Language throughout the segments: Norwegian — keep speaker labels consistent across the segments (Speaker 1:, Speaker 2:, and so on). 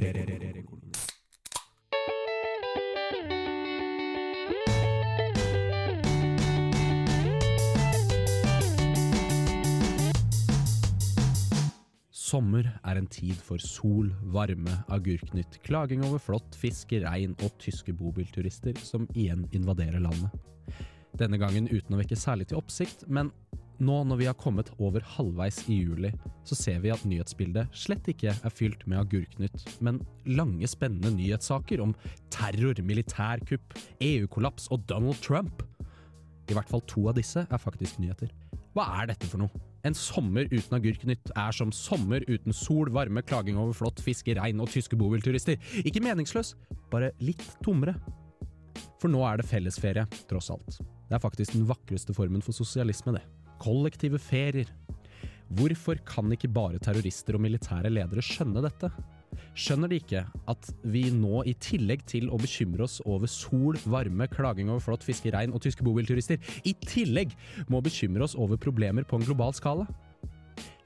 Speaker 1: Feriekoloni. Sommer er en tid for sol, varme, agurknytt, klaging over flått, fiske, rein og tyske bobilturister som igjen invaderer landet. Denne gangen uten å vekke særlig til oppsikt, men nå når vi har kommet over halvveis i juli, så ser vi at nyhetsbildet slett ikke er fylt med agurknytt, men lange, spennende nyhetssaker om terror, militærkupp, EU-kollaps og Donald Trump. I hvert fall to av disse er faktisk nyheter. Hva er dette for noe? En sommer uten agurknytt er som sommer uten sol, varme, klaging over flått, fiske, regn og tyske bobilturister. Ikke meningsløs, bare litt tommere. For nå er det fellesferie, tross alt. Det er faktisk den vakreste formen for sosialisme, det. Kollektive ferier. Hvorfor kan ikke bare terrorister og militære ledere skjønne dette? Skjønner de ikke at vi nå, i tillegg til å bekymre oss over sol, varme, klaging over flått fiske, regn og tyske bobilturister, i tillegg må bekymre oss over problemer på en global skala?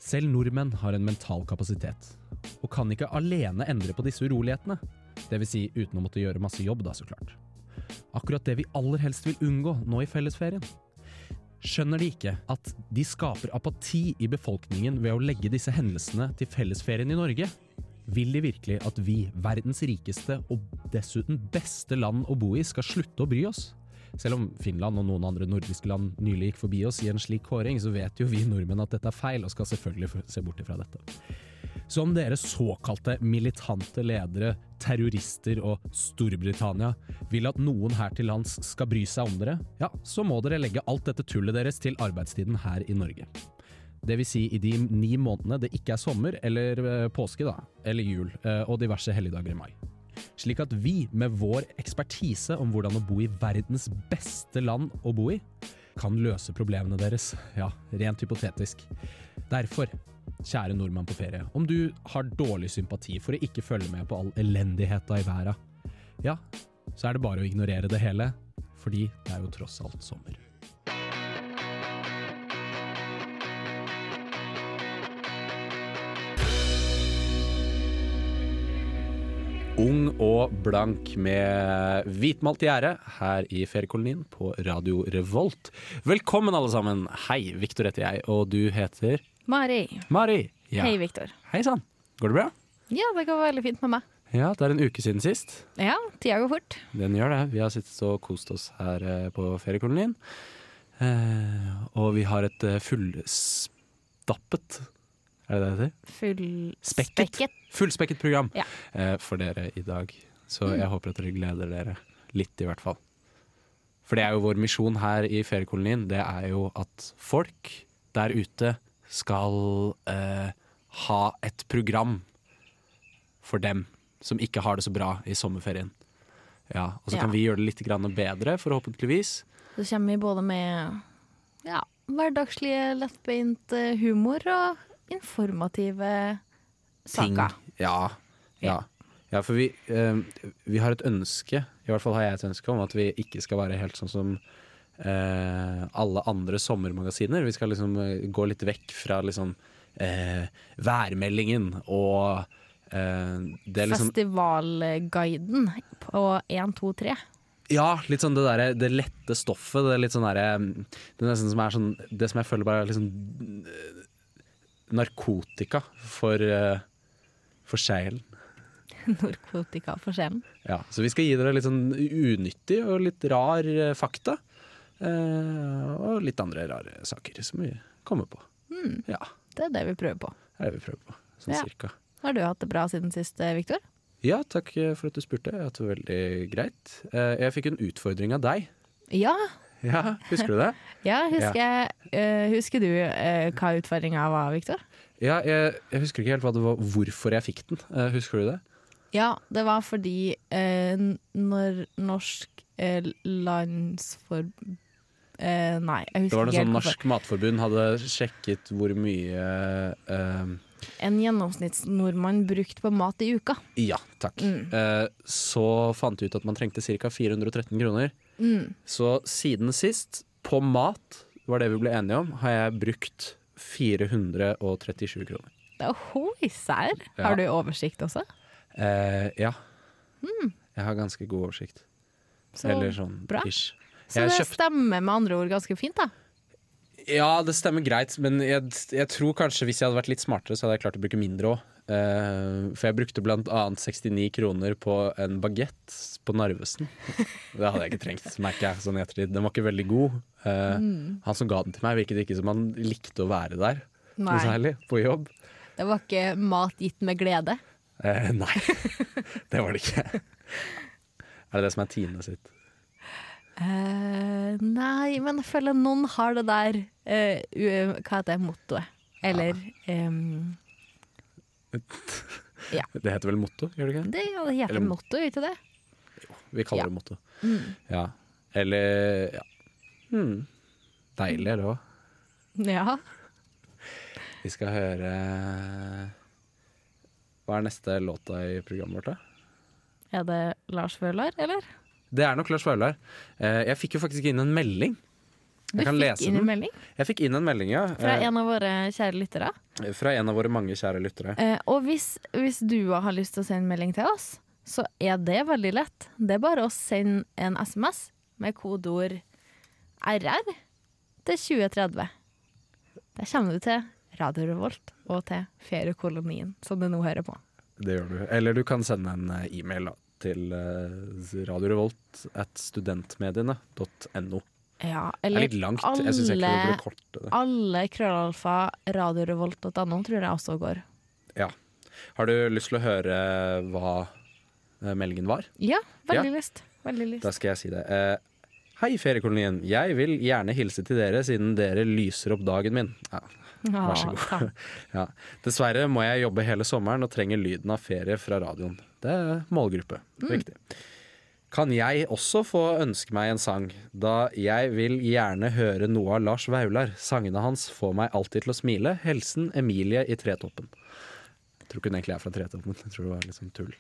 Speaker 1: Selv nordmenn har en mental kapasitet, og kan ikke alene endre på disse urolighetene. Dvs. Si, uten å måtte gjøre masse jobb, da, så klart. Akkurat det vi aller helst vil unngå nå i fellesferien. Skjønner de ikke at de skaper apati i befolkningen ved å legge disse hendelsene til fellesferien i Norge? Vil de virkelig at vi, verdens rikeste og dessuten beste land å bo i, skal slutte å bry oss? Selv om Finland og noen andre nordiske land nylig gikk forbi oss i en slik kåring, så vet jo vi nordmenn at dette er feil, og skal selvfølgelig f- se bort ifra dette. Så om dere såkalte militante ledere, terrorister og Storbritannia vil at noen her til lands skal bry seg om dere, ja, så må dere legge alt dette tullet deres til arbeidstiden her i Norge. Det vil si i de ni månedene det ikke er sommer eller eh, påske, da, eller jul, eh, og diverse helligdager i mai. Slik at vi, med vår ekspertise om hvordan å bo i verdens beste land å bo i, kan løse problemene deres. Ja, rent hypotetisk. Derfor, kjære nordmann på ferie, om du har dårlig sympati for å ikke følge med på all elendigheta i verda, ja, så er det bare å ignorere det hele, fordi det er jo tross alt sommer. Ung og blank med hvitmalt gjerde her i feriekolonien på Radio Revolt. Velkommen, alle sammen. Hei, Viktor heter jeg, og du heter
Speaker 2: Mari.
Speaker 1: Mari. Ja.
Speaker 2: Hei, Viktor.
Speaker 1: Hei sann. Går det bra?
Speaker 2: Ja, det går veldig fint med meg.
Speaker 1: Ja, det er en uke siden sist.
Speaker 2: Ja, tida går fort.
Speaker 1: Den gjør det. Vi har sittet og kost oss her eh, på feriekolonien. Eh, og vi har et eh, fullstappet Er det det det heter?
Speaker 2: Full
Speaker 1: Spekket. Fullspekket program
Speaker 2: Ja. Mm.
Speaker 1: eh, for dere i dag. Så jeg håper at dere gleder dere litt, i hvert fall. For det er jo vår misjon her i feriekolonien. Det er jo at folk der ute skal eh, ha et program for dem som ikke har det så bra i sommerferien. Ja, Og så
Speaker 2: Ja.
Speaker 1: kan vi gjøre det litt grann bedre, forhåpentligvis.
Speaker 2: Så kommer vi både med ja, hverdagslige, lettbeint eh, humor og informative saker.
Speaker 1: ting. Ja. ja. ja for vi, eh, vi har et ønske, i hvert fall har jeg et ønske om at vi ikke skal være helt sånn som eh, alle andre sommermagasiner. Vi skal liksom eh, gå litt vekk fra liksom eh, værmeldingen og eh, det er liksom
Speaker 2: Festivalguiden på 1, 2, 3.
Speaker 1: Ja, litt sånn det derre det lette stoffet. Det er litt sånn derre Det er nesten som er sånn Det som jeg føler bare er liksom eh, Narkotika for, eh, for sjelen.
Speaker 2: Narkotika for sjelen.
Speaker 1: Ja, så vi skal gi dere litt sånn unyttig og litt rar eh, fakta. Eh, og litt andre rare saker som vi kommer på. Ja,
Speaker 2: Det er det vi prøver på.
Speaker 1: det er det vi prøver på. Sånn
Speaker 2: Mm. Ja.
Speaker 1: cirka.
Speaker 2: Har du hatt det bra siden sist, eh, Viktor?
Speaker 1: Ja, takk eh, for at du spurte. Jeg har hatt det veldig greit. Eh, jeg fikk en utfordring av deg.
Speaker 2: Ja.
Speaker 1: Ja, Husker du det?
Speaker 2: ja husker, Jeg, eh, husker du eh, hva utfordringa var, Viktor?
Speaker 1: Ja, jeg, jeg husker ikke helt hva det var, hvorfor jeg fikk den. Eh, husker du det?
Speaker 2: Ja, det var fordi eh, n- når norsk eh, landsforb... Eh, nei, jeg
Speaker 1: Det var
Speaker 2: husker
Speaker 1: noe sånn
Speaker 2: ikke helt hvorfor.
Speaker 1: Norsk Matforbund hadde sjekket hvor mye eh,
Speaker 2: En gjennomsnittsnordmann brukt på mat i uka.
Speaker 1: Ja, takk.
Speaker 2: Mm.
Speaker 1: Eh, så fant vi ut at man trengte ca. 413 kroner.
Speaker 2: Mm.
Speaker 1: Så siden sist, på mat, var det vi ble enige om, har jeg brukt 437 kroner.
Speaker 2: Det er hoi sær!
Speaker 1: Ja.
Speaker 2: Har du oversikt også?
Speaker 1: Eh, ja. Jeg har ganske god oversikt.
Speaker 2: Mm. Så
Speaker 1: Eller sånn
Speaker 2: bra.
Speaker 1: ish.
Speaker 2: Så
Speaker 1: jeg
Speaker 2: det
Speaker 1: kjøpt-
Speaker 2: stemmer med andre ord ganske fint, da.
Speaker 1: Ja, det stemmer greit, men jeg, jeg tror kanskje hvis jeg hadde vært litt smartere, så hadde jeg klart å bruke mindre òg. for jeg brukte blant annet 69 kroner på en bagett på Narvesen. Det hadde jeg ikke trengt, merker jeg sånn i ettertid. Den var ikke veldig god. Eh,
Speaker 2: Mm.
Speaker 1: Han som ga den til meg, virket ikke som han likte å være der noe
Speaker 2: Nei.
Speaker 1: særlig på jobb.
Speaker 2: Det var ikke mat gitt med glede.
Speaker 1: Eh, nei, det var det ikke. Er det det som er Tine sitt?
Speaker 2: Eh, nei, men jeg føler noen har det der eh, u- Hva heter det? Mottoet. Eller em, Ja.
Speaker 1: Det heter vel motto, gjør det ikke?
Speaker 2: Det ja, det heter
Speaker 1: Eller-
Speaker 2: motto, gjør ikke det?
Speaker 1: Vi kaller
Speaker 2: Ja. Mm.
Speaker 1: det motto. Ja. Eller ja. Hmm. Deilig er det òg.
Speaker 2: Ja.
Speaker 1: Vi skal høre eh, Hva er neste låta i programmet vårt, da?
Speaker 2: Er det Lars Vøhler, eller?
Speaker 1: Det er nok Lars Vaular. Eh, Jeg fikk jo faktisk inn en melding.
Speaker 2: Du
Speaker 1: Jeg kan
Speaker 2: fikk
Speaker 1: lese
Speaker 2: inn
Speaker 1: den.
Speaker 2: en melding
Speaker 1: Jeg fikk inn en melding, ja.
Speaker 2: fra
Speaker 1: eh,
Speaker 2: en av våre kjære lyttere.
Speaker 1: fra en av våre mange kjære lyttere.
Speaker 2: Eh, og hvis, hvis du har lyst til å sende melding til oss, så er det veldig lett. Det er bare å sende en SMS med kodeord RR til 2030. Der kommer du til Radio Revolt og til Feriekolonien, som du nå hører på.
Speaker 1: Det gjør du. Eller du kan sende en eh, e-mail da, til eh, radiorevolt at studentmediene.no.
Speaker 2: Ja,
Speaker 1: Det er
Speaker 2: eller
Speaker 1: litt langt. Jeg syns egentlig det
Speaker 2: alle-
Speaker 1: burde korte det.
Speaker 2: alle krøllalfa radiorevolt.no tror jeg også går.
Speaker 1: Ja. Har du lyst til å høre hva eh, meldingen var?
Speaker 2: Ja, veldig lyst. Veldig lyst.
Speaker 1: Da skal jeg si det. Eh, Hei, feriekolonien. Jeg vil gjerne hilse til dere siden dere lyser opp dagen min. Ja, vær så
Speaker 2: Ja,
Speaker 1: god. ja. Dessverre må jeg jobbe hele sommeren og trenger lyden av ferie fra radioen. Det er målgruppe. Riktig. Kan jeg også få ønske meg en sang, da jeg vil gjerne høre noe av Lars Vaular. Sangene hans får meg alltid til å smile. Helsen Emilie i Tretoppen. Jeg tror ikke hun egentlig er fra Tretoppen. Jeg tror det var litt sånn tull.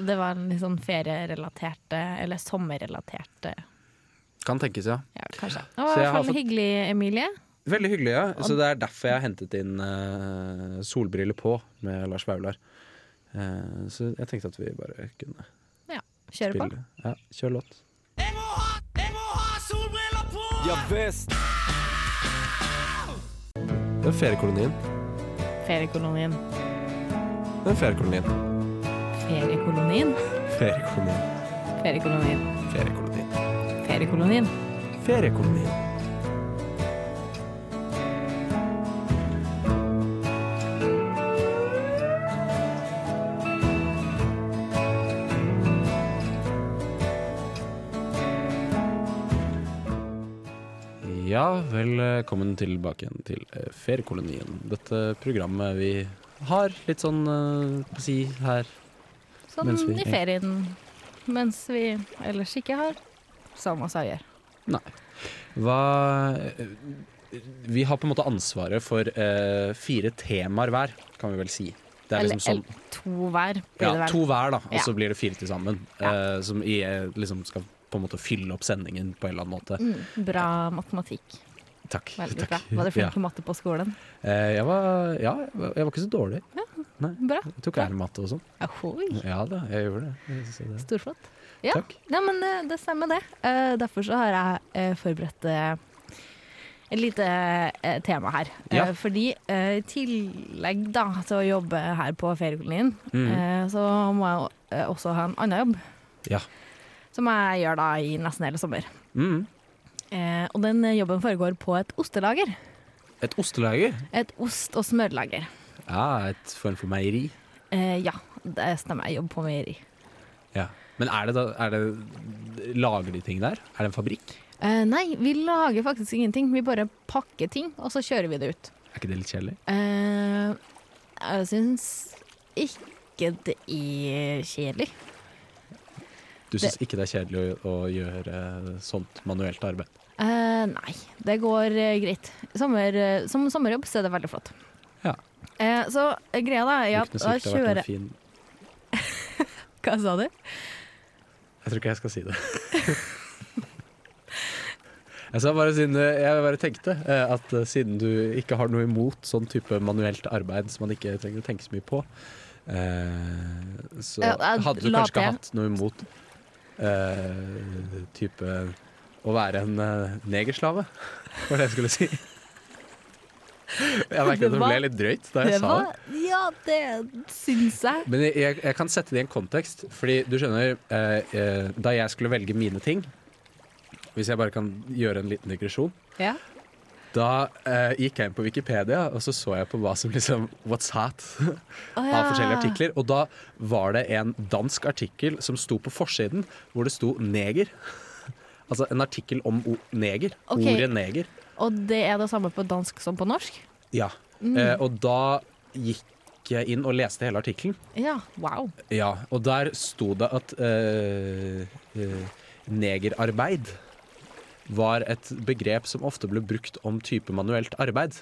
Speaker 2: Det var en litt sånn ferierelatert, eh, eller sommerrelatert eh,
Speaker 1: Kan tenkes, ja.
Speaker 2: Ja, kanskje. Det var
Speaker 1: Så
Speaker 2: i
Speaker 1: jeg
Speaker 2: hvert
Speaker 1: har
Speaker 2: fall
Speaker 1: fått-
Speaker 2: hyggelig, Emilie.
Speaker 1: Veldig hyggelig, ja. Så det er derfor jeg har hentet inn eh, solbriller på med Lars Vaular. Eh, så jeg tenkte at vi bare kunne
Speaker 2: Ja, kjør på.
Speaker 1: spille. Ja, kjør låt.
Speaker 3: Jeg må ha, jeg må ha solbriller på!
Speaker 4: Ja visst!
Speaker 1: Den feriekolonien.
Speaker 2: Feriekolonien.
Speaker 1: Den feriekolonien.
Speaker 2: Feriekolonien.
Speaker 1: Feriekolonien. Feriekolonien.
Speaker 2: Feriekolonien. Feriekolonien.
Speaker 1: Feriekolonien. Ja, velkommen tilbake igjen til eh, Feriekolonien. Dette programmet vi har litt sånn eh, si her.
Speaker 2: Sånn
Speaker 1: Mens vi-
Speaker 2: i ferien. Mens vi ellers ikke har samme oss å gjøre.
Speaker 1: Hva eh, Vi har på en måte ansvaret for eh, fire temaer hver, kan vi vel si. Det er
Speaker 2: Eller,
Speaker 1: liksom sånn
Speaker 2: eller to hver, blir
Speaker 1: ja,
Speaker 2: det vel.
Speaker 1: to hver, da, og
Speaker 2: Ja.
Speaker 1: så blir det fire til sammen. eh, som i, eh, liksom skal på en måte fylle opp sendingen på en eller annen måte.
Speaker 2: Mm, bra matematikk.
Speaker 1: Takk.
Speaker 2: Veldig
Speaker 1: takk.
Speaker 2: bra. Var du flink
Speaker 1: Ja.
Speaker 2: på matte på skolen?
Speaker 1: Eh, jeg var, ja, jeg var- jeg var ikke så dårlig.
Speaker 2: Bra.
Speaker 1: Jeg tok ærematte og sånn.
Speaker 2: Ahoi.
Speaker 1: Ja da, jeg gjorde det. Jeg synes det.
Speaker 2: Storflott. Ja.
Speaker 1: Takk.
Speaker 2: Nei, men det, det stemmer det. Eh, derfor så har jeg eh, forberedt eh, et lite eh, tema her. Eh,
Speaker 1: Ja.
Speaker 2: fordi eh, i tillegg da, til å jobbe her på feriekolonien,
Speaker 1: Mhm.
Speaker 2: eh, så må jeg eh, også ha en annen jobb.
Speaker 1: Ja.
Speaker 2: Som jeg gjør da i nesten hele sommer.
Speaker 1: Mm.
Speaker 2: Eh, og den eh, jobben foregår på et ostelager.
Speaker 1: Et ostelager.
Speaker 2: Et ost- og smørlager.
Speaker 1: Ja, et form for meieri.
Speaker 2: Eh, ja, det stemmer. Jeg jobber på meieri.
Speaker 1: Ja. Men er det da er det, Lager de ting der? Er det en fabrikk?
Speaker 2: Eh, nei, vi lager faktisk ingenting. Vi bare pakker ting, og så kjører vi det ut.
Speaker 1: Er ikke det litt kjedelig?
Speaker 2: Eh, jeg syns ikke det er kjedelig.
Speaker 1: Du syns ikke det er kjedelig å, å gjøre sånt manuelt arbeid?
Speaker 2: Eh, nei, det går eh, greit. Sommer, eh, som sommerjobb så er det veldig flott.
Speaker 1: Ja.
Speaker 2: Eh, så eh, greia da er
Speaker 1: Ja,
Speaker 2: at da
Speaker 1: vært en
Speaker 2: kjører
Speaker 1: fin
Speaker 2: Hva sa du?
Speaker 1: Jeg tror ikke jeg skal si det. Jeg sa bare siden eh, Jeg bare tenkte eh, at eh, siden du ikke har noe imot sånn type manuelt arbeid som man ikke trenger å tenke så mye på, Eh, så
Speaker 2: Ja, jeg
Speaker 1: hadde du
Speaker 2: la
Speaker 1: kanskje ikke
Speaker 2: til.
Speaker 1: hatt noe imot eh, type å være en eh, negerslave, var det jeg skulle si. Jeg merket
Speaker 2: Det
Speaker 1: at det
Speaker 2: var-
Speaker 1: ble litt drøyt da jeg sa
Speaker 2: Det
Speaker 1: det.
Speaker 2: var, ja, det syns jeg.
Speaker 1: Men jeg- jeg, jeg kan sette det i en kontekst, fordi du skjønner, eh, eh, da jeg skulle velge mine ting, hvis jeg bare kan gjøre en liten digresjon,
Speaker 2: Ja.
Speaker 1: da eh, gikk jeg inn på Wikipedia, og så så jeg på hva som liksom, what's hot
Speaker 2: Å,
Speaker 1: av forskjellige
Speaker 2: ja.
Speaker 1: artikler, og da var det en dansk artikkel som sto på forsiden, hvor det sto neger. Altså en artikkel om o neger,
Speaker 2: Ok.
Speaker 1: ordet neger.
Speaker 2: Og det er det samme på dansk som på norsk?
Speaker 1: Ja.
Speaker 2: Mm.
Speaker 1: Eh, og da gikk jeg inn og leste hele artikkelen,
Speaker 2: Ja, wow.
Speaker 1: Ja, og der sto det at eh, eh, negerarbeid var et begrep som ofte ble brukt om type manuelt arbeid.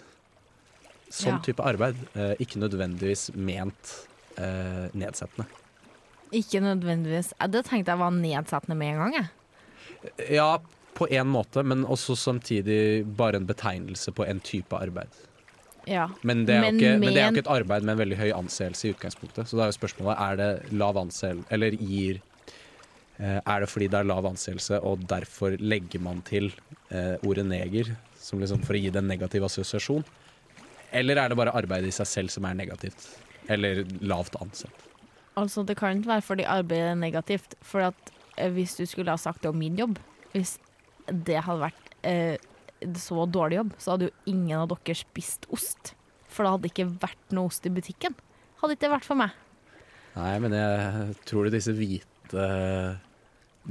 Speaker 1: Sånn
Speaker 2: Ja.
Speaker 1: type arbeid. eh, ikke nødvendigvis ment eh, nedsettende.
Speaker 2: Ikke nødvendigvis. Eh, Det tenkte jeg var nedsettende med en gang. Jeg.
Speaker 1: Ja, på én måte, men også samtidig bare en betegnelse på en type arbeid.
Speaker 2: Ja.
Speaker 1: Men det er,
Speaker 2: Men
Speaker 1: jo, ikke, men det er
Speaker 2: men-
Speaker 1: jo ikke et arbeid med en veldig høy anseelse i utgangspunktet. Så da er jo spørsmålet er det lav anseelse, eller gir eh, Er det fordi det er lav anseelse, og derfor legger man til eh, ordet neger som liksom for å gi det en negativ assosiasjon? Eller er det bare arbeidet i seg selv som er negativt? Eller lavt ansett?
Speaker 2: Altså, det kan ikke være fordi arbeidet er negativt. For at eh, hvis du skulle ha sagt det om min jobb, hvis det hadde vært eh, så dårlig jobb, så hadde jo ingen av dere spist ost. For det hadde ikke vært noe ost i butikken. Hadde ikke det vært for meg.
Speaker 1: Nei, men jeg tror det disse hvite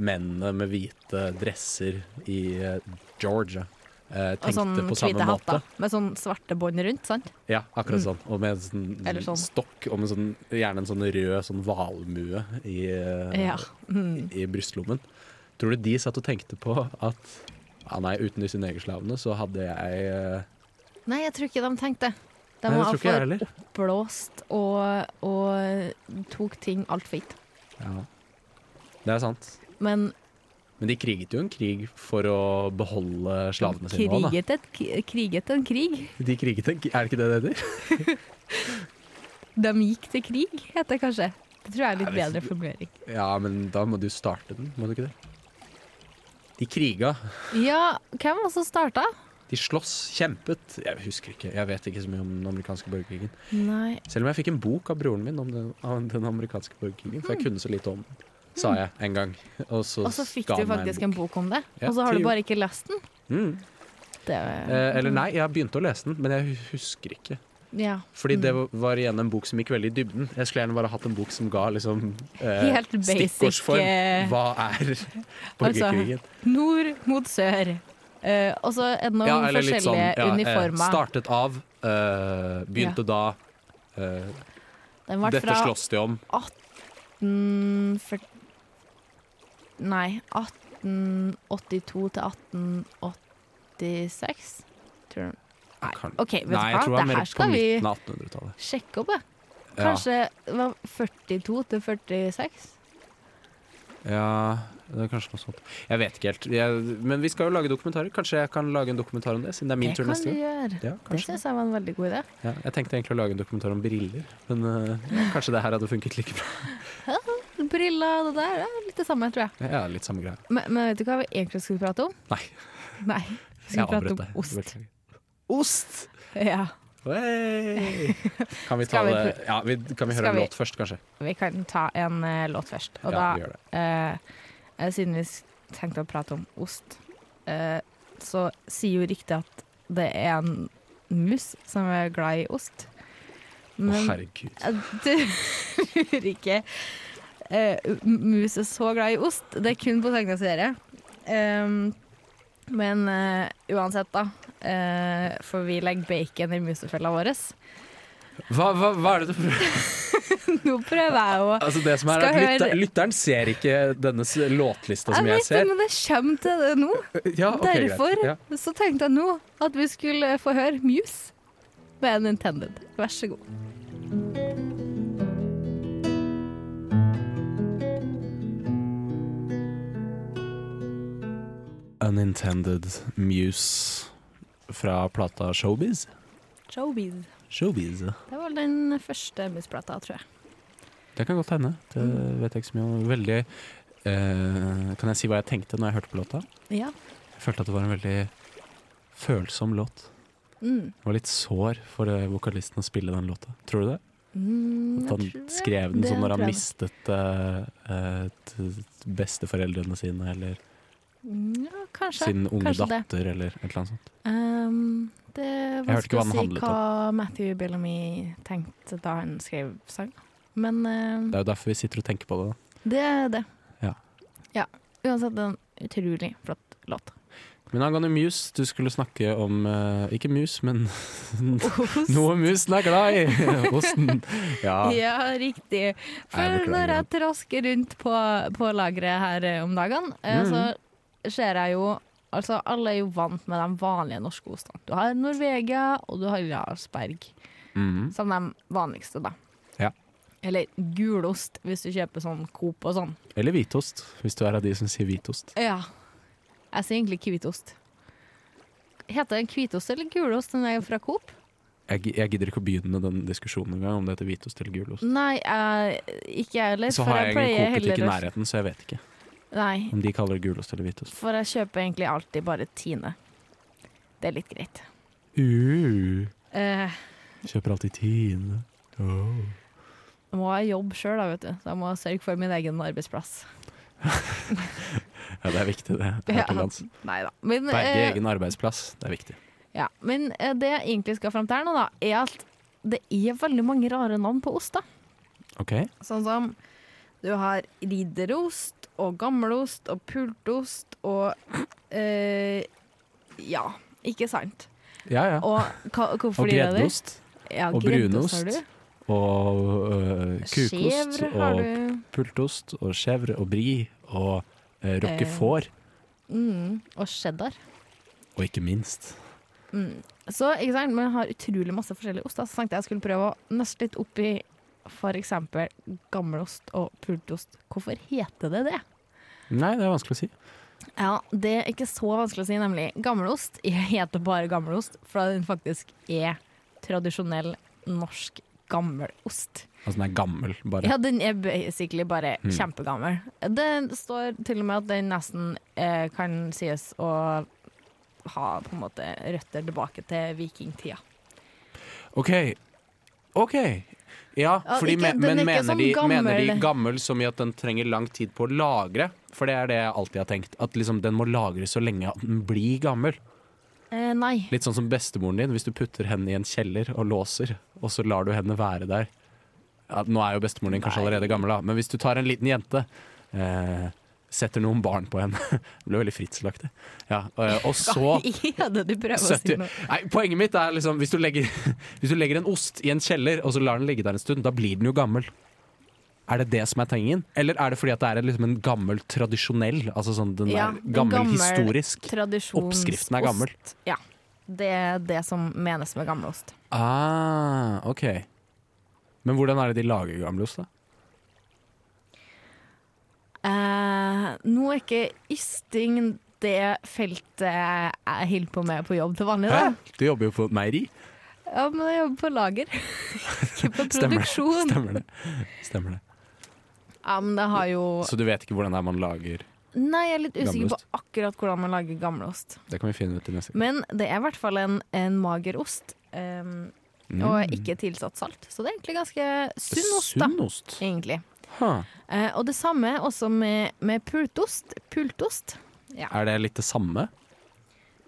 Speaker 1: mennene med hvite dresser i eh, Georgia eh,
Speaker 2: Og
Speaker 1: tenkte
Speaker 2: sånn
Speaker 1: på samme
Speaker 2: hvite
Speaker 1: måte.
Speaker 2: hatter med sånn svarte bånd rundt, sant?
Speaker 1: Ja, akkurat sånn. Og med en sånn,
Speaker 2: Eller sånn.
Speaker 1: stokk og med sånn, gjerne en sånn rød sånn valmue i, eh,
Speaker 2: Ja. Mm.
Speaker 1: i brystlommen. Tror du de satt og tenkte på at ja, nei, uten disse negerslavene så hadde jeg eh,
Speaker 2: Nei, jeg tror ikke de tenkte. De
Speaker 1: Nei, det
Speaker 2: var
Speaker 1: tror ikke jeg
Speaker 2: altfor
Speaker 1: heller.
Speaker 2: oppblåst og, og tok ting altfor gitt.
Speaker 1: Ja. Det er sant.
Speaker 2: Men
Speaker 1: Men de kriget jo en krig for å beholde slavene sine. også, da.
Speaker 2: kriget, et, k- kriget en krig.
Speaker 1: De kriget en krig, er det ikke det det heter?
Speaker 2: De gikk til krig, heter det kanskje. Det tror jeg er litt
Speaker 1: Ja, det-
Speaker 2: bedre formulering.
Speaker 1: Ja, men da må du starte den, må du ikke det? De kriga.
Speaker 2: Ja, hvem var det som starta?
Speaker 1: De sloss, kjempet. Jeg husker ikke, jeg vet ikke så mye om den amerikanske borgerkrigen.
Speaker 2: Nei,
Speaker 1: Selv om jeg fikk en bok av broren min om den, om den amerikanske borgerkrigen, for jeg kunne så lite om den, sa jeg en gang. Og så,
Speaker 2: Mm. Og så fikk
Speaker 1: ga
Speaker 2: du
Speaker 1: han meg
Speaker 2: faktisk en bok om det,
Speaker 1: Ja,
Speaker 2: og så har
Speaker 1: til
Speaker 2: du
Speaker 1: jul.
Speaker 2: bare ikke lest den?
Speaker 1: Mm.
Speaker 2: Det,
Speaker 1: Eh, eller nei, jeg begynte å lese den, men jeg hu- husker ikke.
Speaker 2: ja.
Speaker 1: Fordi det
Speaker 2: Mm.
Speaker 1: var igjen en bok som gikk veldig i dybden. Jeg skulle gjerne bare hatt en bok som ga liksom eh,
Speaker 2: Helt basic, eh,
Speaker 1: Hva er borgerkrigen?
Speaker 2: Nord mot sør. Eh, og så er det noen forskjellige
Speaker 1: eh,
Speaker 2: uniformer.
Speaker 1: startet av, eh, begynte da eh,
Speaker 2: Den ble
Speaker 1: Dette
Speaker 2: fra
Speaker 1: slåss de om.
Speaker 2: 18... fyr- Nei, 1882 til 1886, tror jeg. Nei,
Speaker 1: Kan-
Speaker 2: OK, vet du
Speaker 1: Nei, jeg tror det er
Speaker 2: hva? Det
Speaker 1: mer
Speaker 2: her
Speaker 1: på
Speaker 2: skal vi
Speaker 1: midten av 1800-tallet.
Speaker 2: sjekke opp, jeg.
Speaker 1: Ja.
Speaker 2: Kanskje det var 42 til 46?
Speaker 1: Ja, det er kanskje noe sånt. Jeg vet ikke helt. Jeg, men vi skal jo lage dokumentarer. Kanskje jeg kan lage en dokumentar om det, siden det er min
Speaker 2: Det
Speaker 1: tur
Speaker 2: kan
Speaker 1: neste
Speaker 2: du
Speaker 1: gang.
Speaker 2: gjøre.
Speaker 1: Ja,
Speaker 2: Det
Speaker 1: kanskje.
Speaker 2: syns jeg var en veldig god idé.
Speaker 1: Ja, jeg tenkte egentlig å lage en dokumentar om briller, men eh, ja, kanskje det her hadde funket like bra.
Speaker 2: Briller og det der er litt det samme, tror jeg.
Speaker 1: Ja, litt samme greie.
Speaker 2: Men, men vet du hva vi egentlig skulle prate om?
Speaker 1: Nei,
Speaker 2: Nei, vi
Speaker 1: jeg
Speaker 2: skulle prate
Speaker 1: avbrøt
Speaker 2: om
Speaker 1: deg.
Speaker 2: ost.
Speaker 1: Beklager. Ost!
Speaker 2: Ja,
Speaker 1: Hey! Kan vi ta
Speaker 2: Skal vi
Speaker 1: det
Speaker 2: prø-
Speaker 1: Ja, vi, kan vi
Speaker 2: Skal
Speaker 1: høre en
Speaker 2: vi-
Speaker 1: låt først, kanskje?
Speaker 2: vi kan ta en eh, låt først. Og
Speaker 1: ja,
Speaker 2: da
Speaker 1: vi gjør det.
Speaker 2: Eh, eh, siden vi s- tenkte å prate om ost, eh, så sier jo ryktet at det er en mus som er glad i ost.
Speaker 1: Å,
Speaker 2: Men
Speaker 1: herregud.
Speaker 2: jeg tror ikke eh, mus er så glad i ost. Det er kun på tegneserie. Um, men eh, uansett, da. eh, for vi legger bacon i musefella vår.
Speaker 1: Hva, hva, hva er det du prøver
Speaker 2: Nå prøver jeg å
Speaker 1: Altså, det som er
Speaker 2: Skal
Speaker 1: at lytter,
Speaker 2: høre-
Speaker 1: lytteren ser ikke denne s- låtlista som
Speaker 2: Jeg
Speaker 1: jeg
Speaker 2: vet det,
Speaker 1: ser.
Speaker 2: men jeg kommer til det nå.
Speaker 1: Ja, ok, greit.
Speaker 2: Derfor
Speaker 1: Ja.
Speaker 2: så tenkte jeg nå at vi skulle få høre Muse med Nintended. Vær så god.
Speaker 1: Unintended Muse fra plata Showbiz.
Speaker 2: Showbiz.
Speaker 1: Showbiz.
Speaker 2: Det var den første Muse-plata, tror jeg.
Speaker 1: Det kan godt hende. Det vet jeg ikke så mye om. Veldig eh, Kan jeg si hva jeg tenkte når jeg hørte på låta?
Speaker 2: Ja.
Speaker 1: Jeg følte at det var en veldig følsom låt.
Speaker 2: Mm.
Speaker 1: Jeg var litt sår for eh, vokalisten å spille den låta. Tror du det? At
Speaker 2: Mm, jeg
Speaker 1: han
Speaker 2: tror-
Speaker 1: skrev den
Speaker 2: det
Speaker 1: sånn når han
Speaker 2: tror jeg.
Speaker 1: mistet eh, eh, t- t- besteforeldrene sine, eller
Speaker 2: Mm, Ja, kanskje.
Speaker 1: sin unge
Speaker 2: kanskje det.
Speaker 1: datter, eller et eller annet sånt.
Speaker 2: Ehm, det er
Speaker 1: Jeg hørte ikke hva
Speaker 2: vanskelig å
Speaker 1: den
Speaker 2: si
Speaker 1: handlet
Speaker 2: hva Matthew Bellamy tenkte da han skrev sang. Men
Speaker 1: Det
Speaker 2: eh,
Speaker 1: er jo derfor vi sitter og tenker på det. da.
Speaker 2: det er det.
Speaker 1: Ja.
Speaker 2: ja. Uansett en utrolig flott låt.
Speaker 1: Men angående mus, du skulle snakke om eh, Ikke mus, men
Speaker 2: Ost.
Speaker 1: noe musen er glad i! Osten. Ja.
Speaker 2: Ja,
Speaker 1: Nei,
Speaker 2: riktig. For
Speaker 1: beklager.
Speaker 2: når jeg trasker rundt på, på lageret her eh, om dagen, eh,
Speaker 1: Mm.
Speaker 2: så ser jeg jo Altså, alle er jo vant med de vanlige norske ostene. Du har Norvegia, og du har Jarlsberg.
Speaker 1: Mhm.
Speaker 2: Som de vanligste, da.
Speaker 1: Ja.
Speaker 2: Eller gulost, hvis du kjøper sånn Coop og sånn.
Speaker 1: Eller hvitost, hvis du er av de som sier hvitost.
Speaker 2: Ja. Jeg sier egentlig hvitost. Heter det hvitost eller gulost? Den er jo fra Coop.
Speaker 1: Jeg, gi- jeg gidder ikke å begynne den diskusjonen engang, om det heter hvitost eller gulost.
Speaker 2: Nei, jeg, ikke jeg heller.
Speaker 1: Så
Speaker 2: for
Speaker 1: har jeg ingen
Speaker 2: pleier
Speaker 1: kokebutikk i
Speaker 2: heller å-
Speaker 1: nærheten, så jeg vet ikke
Speaker 2: Nei,
Speaker 1: om de kaller det gulost eller hvitost.
Speaker 2: for jeg kjøper egentlig alltid bare Tine. Det er litt greit.
Speaker 1: Uh,
Speaker 2: Eh,
Speaker 1: kjøper alltid Tine. Åh.
Speaker 2: Da må jeg jobbe sjøl, da, vet du. Så jeg må sørge for min egen arbeidsplass.
Speaker 1: Ja, det er viktig, det. Her til lands.
Speaker 2: Nei da. Men,
Speaker 1: Berge
Speaker 2: eh,
Speaker 1: egen arbeidsplass, det er viktig.
Speaker 2: Ja, men eh, det jeg egentlig skal fram til her nå, da, er at det er veldig mange rare navn på ost. da.
Speaker 1: Ok,
Speaker 2: Sånn som du har ridderost og gammelost og pultost og eh, Ja, ikke sant?
Speaker 1: ja ja.
Speaker 2: Og hva, hvorfor
Speaker 1: Og
Speaker 2: de er der?
Speaker 1: greddost.
Speaker 2: Ja,
Speaker 1: og
Speaker 2: greddost
Speaker 1: brunost,
Speaker 2: har du.
Speaker 1: Og øh, kukost.
Speaker 2: Chèvre har
Speaker 1: Og
Speaker 2: du.
Speaker 1: pultost. Og chèvre og brie. Og øh,
Speaker 2: Eh.
Speaker 1: roquefort.
Speaker 2: Mm, og cheddar.
Speaker 1: Og ikke minst.
Speaker 2: Mm. Så, ikke sant, men jeg har utrolig masse forskjellige oster. Så tenkte jeg jeg skulle prøve å nøste litt opp i f.eks. gammelost og pultost. Hvorfor heter det det?
Speaker 1: Nei, det er vanskelig å si.
Speaker 2: Ja, det er ikke så vanskelig å si, nemlig. Gammelost jeg heter bare gammelost, for den faktisk er tradisjonell norsk gammelost.
Speaker 1: Altså den er gammel, bare.
Speaker 2: Ja, den er basically bare
Speaker 1: Mm.
Speaker 2: kjempegammel. Det står til og med at den nesten eh, kan sies å ha på en måte røtter tilbake til vikingtida.
Speaker 1: OK. OK. Ja,
Speaker 2: Ja,
Speaker 1: fordi,
Speaker 2: ikke-
Speaker 1: men,
Speaker 2: den
Speaker 1: men
Speaker 2: er ikke
Speaker 1: mener,
Speaker 2: sånn
Speaker 1: de, mener de
Speaker 2: gammel.
Speaker 1: gammel som i at den trenger lang tid på å lagre? For det er det jeg alltid har tenkt. At liksom den må lagres så lenge at den blir gammel.
Speaker 2: Eh, nei.
Speaker 1: Litt sånn som bestemoren din, hvis du putter henne i en kjeller og låser, og så lar du henne være der. Ja, nå er jo bestemoren din kanskje
Speaker 2: Nei.
Speaker 1: allerede gammel, da, men hvis du tar en liten jente eh, Setter noen barn på henne. Det ble veldig fritslaktig. Ja, eh, og så
Speaker 2: Hva er det du prøver å si
Speaker 1: 70
Speaker 2: nå?
Speaker 1: Nei, Poenget mitt er liksom hvis du, legger, hvis du legger en ost i en kjeller og så lar den ligge der en stund, da blir den jo gammel. Er det det som er tingen? Eller er det fordi at det er en- liksom en gammel tradisjonell? Altså sånn den
Speaker 2: Ja,
Speaker 1: er
Speaker 2: en
Speaker 1: gammel,
Speaker 2: gammel
Speaker 1: historisk?
Speaker 2: Tradisjonsost.
Speaker 1: Oppskriften er gammel.
Speaker 2: Ja. Det er det som menes med gammelost.
Speaker 1: Ah, ok. Men hvordan er det de lager gammelost, da?
Speaker 2: Eh, nå er ikke ysting det feltet jeg holder på med på jobb til vanlig. Da.
Speaker 1: Du jobber jo på et meieri.
Speaker 2: Ja, men jeg jobber på lager, ikke på
Speaker 1: Stemmer det.
Speaker 2: produksjon.
Speaker 1: Stemmer det. Stemmer det.
Speaker 2: Ja, men det har jo
Speaker 1: Så du vet ikke hvordan det er man lager
Speaker 2: Nei, jeg er litt usikker
Speaker 1: Gammelost.
Speaker 2: på akkurat hvordan man lager gammelost.
Speaker 1: Det kan vi finne ut i neste gang.
Speaker 2: Men det er i hvert fall en, en mager ost, ehm,
Speaker 1: Mm.
Speaker 2: og ikke tilsatt salt. Så det er egentlig ganske sunn ost, da.
Speaker 1: Sunnost.
Speaker 2: Egentlig.
Speaker 1: Ha.
Speaker 2: Eh, og det samme også med, med pultost. Pultost.
Speaker 1: Er det litt det samme?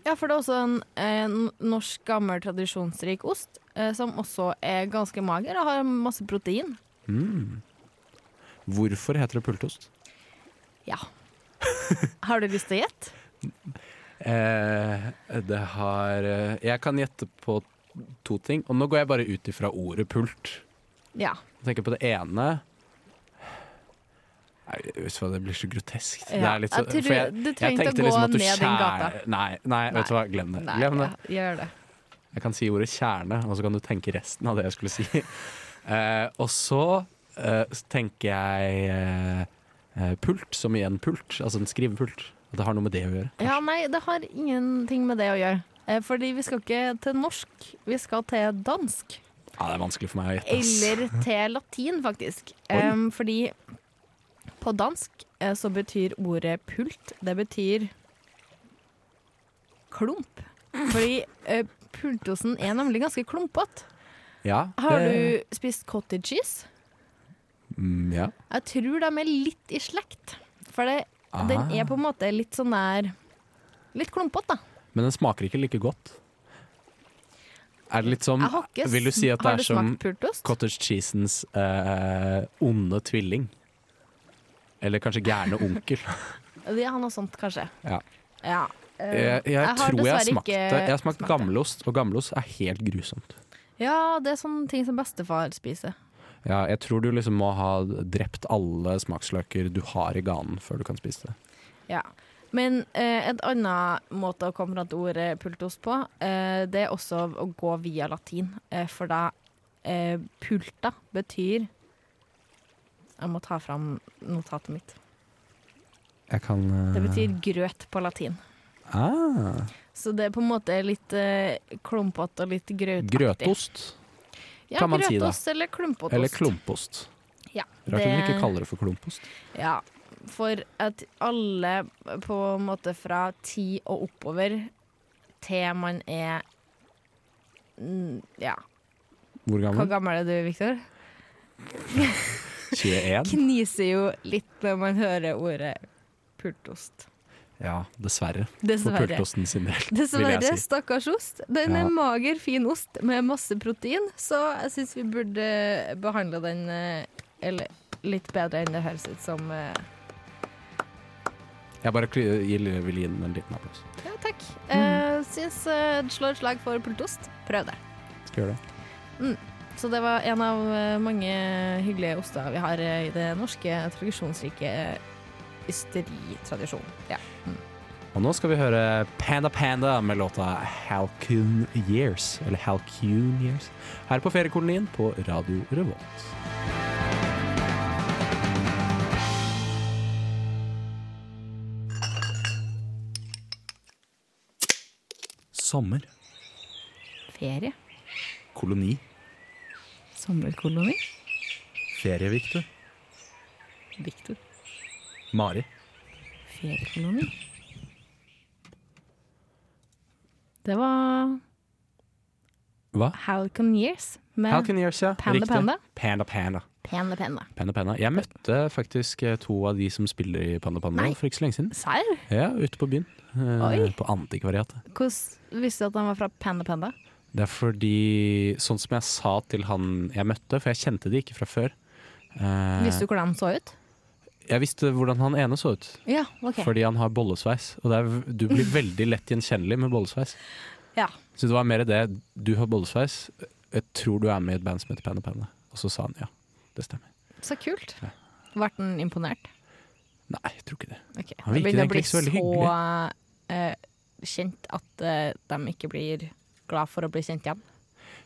Speaker 2: Ja, for det er også en, en norsk, gammel, tradisjonsrik ost, eh, som også er ganske mager og har masse protein.
Speaker 1: Mm. Hvorfor heter det pultost?
Speaker 2: Ja. Har du lyst til å gjette?
Speaker 1: Eh, det har eh, Jeg kan gjette på to ting. Og nå går jeg bare ut ifra ordet pult.
Speaker 2: Ja.
Speaker 1: Jeg tenker på det ene Nei, vet du hva, det blir så grotesk. det
Speaker 2: Ja,
Speaker 1: er litt så,
Speaker 2: jeg tror-
Speaker 1: for jeg,
Speaker 2: du
Speaker 1: jeg
Speaker 2: trenger ikke
Speaker 1: tenkte
Speaker 2: å
Speaker 1: liksom
Speaker 2: gå
Speaker 1: at du
Speaker 2: ned den gata.
Speaker 1: skjærer- Nei, nei, vet du hva, glem det.
Speaker 2: Nei,
Speaker 1: glem det.
Speaker 2: ja, gjør det.
Speaker 1: Jeg kan si ordet kjerne, og så kan du tenke resten av det jeg skulle si. Eh, og så eh, så tenker jeg eh, eh, pult, som i en pult, altså en skrivepult. At det har noe med det å gjøre.
Speaker 2: Ja, nei, det har ingenting med det å gjøre. Eh, fordi vi skal ikke til norsk, vi skal til dansk.
Speaker 1: Ja, det er vanskelig for meg å gjette. ass.
Speaker 2: Eller til latin, faktisk.
Speaker 1: Oi.
Speaker 2: Em, fordi på dansk eh, så betyr ordet pult Det betyr klump. Fordi eh, pultosen er nemlig ganske klumpete.
Speaker 1: Ja,
Speaker 2: Har
Speaker 1: det-
Speaker 2: du spist cottage cheese?
Speaker 1: mm, Ja.
Speaker 2: Jeg tror de er litt i slekt. For det, den
Speaker 1: Ah.
Speaker 2: er på en måte litt sånn der Litt klumpete, da.
Speaker 1: Men den smaker ikke like godt. Er det litt som
Speaker 2: Jeg har ikke
Speaker 1: Vil du si at det
Speaker 2: har
Speaker 1: er
Speaker 2: du
Speaker 1: som
Speaker 2: smakt pultost?
Speaker 1: cottage cheesens eh, onde tvilling? Eller kanskje gærne onkel.
Speaker 2: Det er noe sånt, kanskje.
Speaker 1: Ja.
Speaker 2: Ja. Eh,
Speaker 1: Jeg, jeg,
Speaker 2: har
Speaker 1: tror jeg
Speaker 2: dessverre
Speaker 1: smakte
Speaker 2: ikke
Speaker 1: Jeg har smakt
Speaker 2: smakt det.
Speaker 1: gammelost, og gammelost er helt grusomt.
Speaker 2: Ja, det er sånne ting som bestefar spiser.
Speaker 1: Ja, jeg tror du liksom må ha drept alle smaksløker du har i ganen før du kan spise det.
Speaker 2: Ja. Men eh, en annen måte å komme fram til ordet pultost på, eh, det er også å gå via latin. Eh, for da eh, pulta betyr Jeg må ta fram notatet mitt.
Speaker 1: Jeg kan eh,
Speaker 2: Det betyr grøt på latin.
Speaker 1: ah,
Speaker 2: Så det er på en måte litt eh, klumpete og litt grøtaktig.
Speaker 1: Grøtost.
Speaker 2: ja,
Speaker 1: kan man si, da.
Speaker 2: Grøtost eller klumpotost.
Speaker 1: Eller klumpost.
Speaker 2: Ja,
Speaker 1: Rart hun
Speaker 2: det-
Speaker 1: ikke kaller det for klumpost.
Speaker 2: Ja, for at alle på en måte fra ti og oppover til man er mm, Ja,
Speaker 1: Hvor
Speaker 2: hvor
Speaker 1: gammel?
Speaker 2: gammel er du, Viktor?
Speaker 1: 21?
Speaker 2: Kniser jo litt når man hører ordet pultost.
Speaker 1: Ja, dessverre. For
Speaker 2: Dessverre.
Speaker 1: pultosten sin del, vil
Speaker 2: Dessverre,
Speaker 1: jeg si.
Speaker 2: stakkars ost. Den
Speaker 1: Ja.
Speaker 2: er mager, fin ost med masse protein, så jeg syns vi burde behandle den eh, eller, litt bedre enn det høres ut som. eh,
Speaker 1: Jeg bare kli- gir- vil gi den en liten applaus.
Speaker 2: Ja, takk. Eh, syns eh, det slår et slag for pultost. Prøv det.
Speaker 1: Skal gjøre det.
Speaker 2: Så det var en av eh, mange hyggelige oster vi har eh, i det norske tradisjonsrike eh, ysteritradisjonen. Ja.
Speaker 1: Og nå skal vi høre Panda Panda med låta Halcune Years, eller Halcune Years, her på feriekolonien på Radio Revolt. Sommer.
Speaker 2: Ferie.
Speaker 1: Koloni.
Speaker 2: Sommerkoloni.
Speaker 1: Ferie, Victor.
Speaker 2: Viktor.
Speaker 1: Mari.
Speaker 2: Feriekoloni. Det var
Speaker 1: Hva?
Speaker 2: Halcon Years med
Speaker 1: Halcune Years, ja.
Speaker 2: Panda
Speaker 1: Riktig.
Speaker 2: Panda.
Speaker 1: Panda Panda.
Speaker 2: Pene Penne.
Speaker 1: Panda Panda. Jeg møtte faktisk eh, to av de som spiller i Panda Panda
Speaker 2: Nei.
Speaker 1: for ikke så lenge siden.
Speaker 2: Serr?
Speaker 1: Ja, ute på byen. Eh,
Speaker 2: Oi.
Speaker 1: På antikvariatet.
Speaker 2: Hvordan visste du at han var fra Pene Penne?
Speaker 1: Det er fordi, sånn som jeg sa til han jeg møtte, for jeg kjente de ikke fra før eh,
Speaker 2: Visste du hvordan han så ut?
Speaker 1: Jeg visste hvordan han ene så ut,
Speaker 2: Ja, OK.
Speaker 1: fordi han har bollesveis. Og det er, v- du blir veldig lett gjenkjennelig med bollesveis.
Speaker 2: Ja.
Speaker 1: Så det var mer det du har bollesveis, eh, jeg tror du er med i et band som heter Panda Panda. Og så sa han ja, det stemmer.
Speaker 2: Så kult. Ble han imponert?
Speaker 1: Nei, jeg tror ikke det.
Speaker 2: Ok,
Speaker 1: Han virker
Speaker 2: Det begynner å
Speaker 1: egentlig
Speaker 2: bli
Speaker 1: ikke så
Speaker 2: så,
Speaker 1: veldig
Speaker 2: eh, kjent at eh, de ikke blir glad for å bli kjent igjen.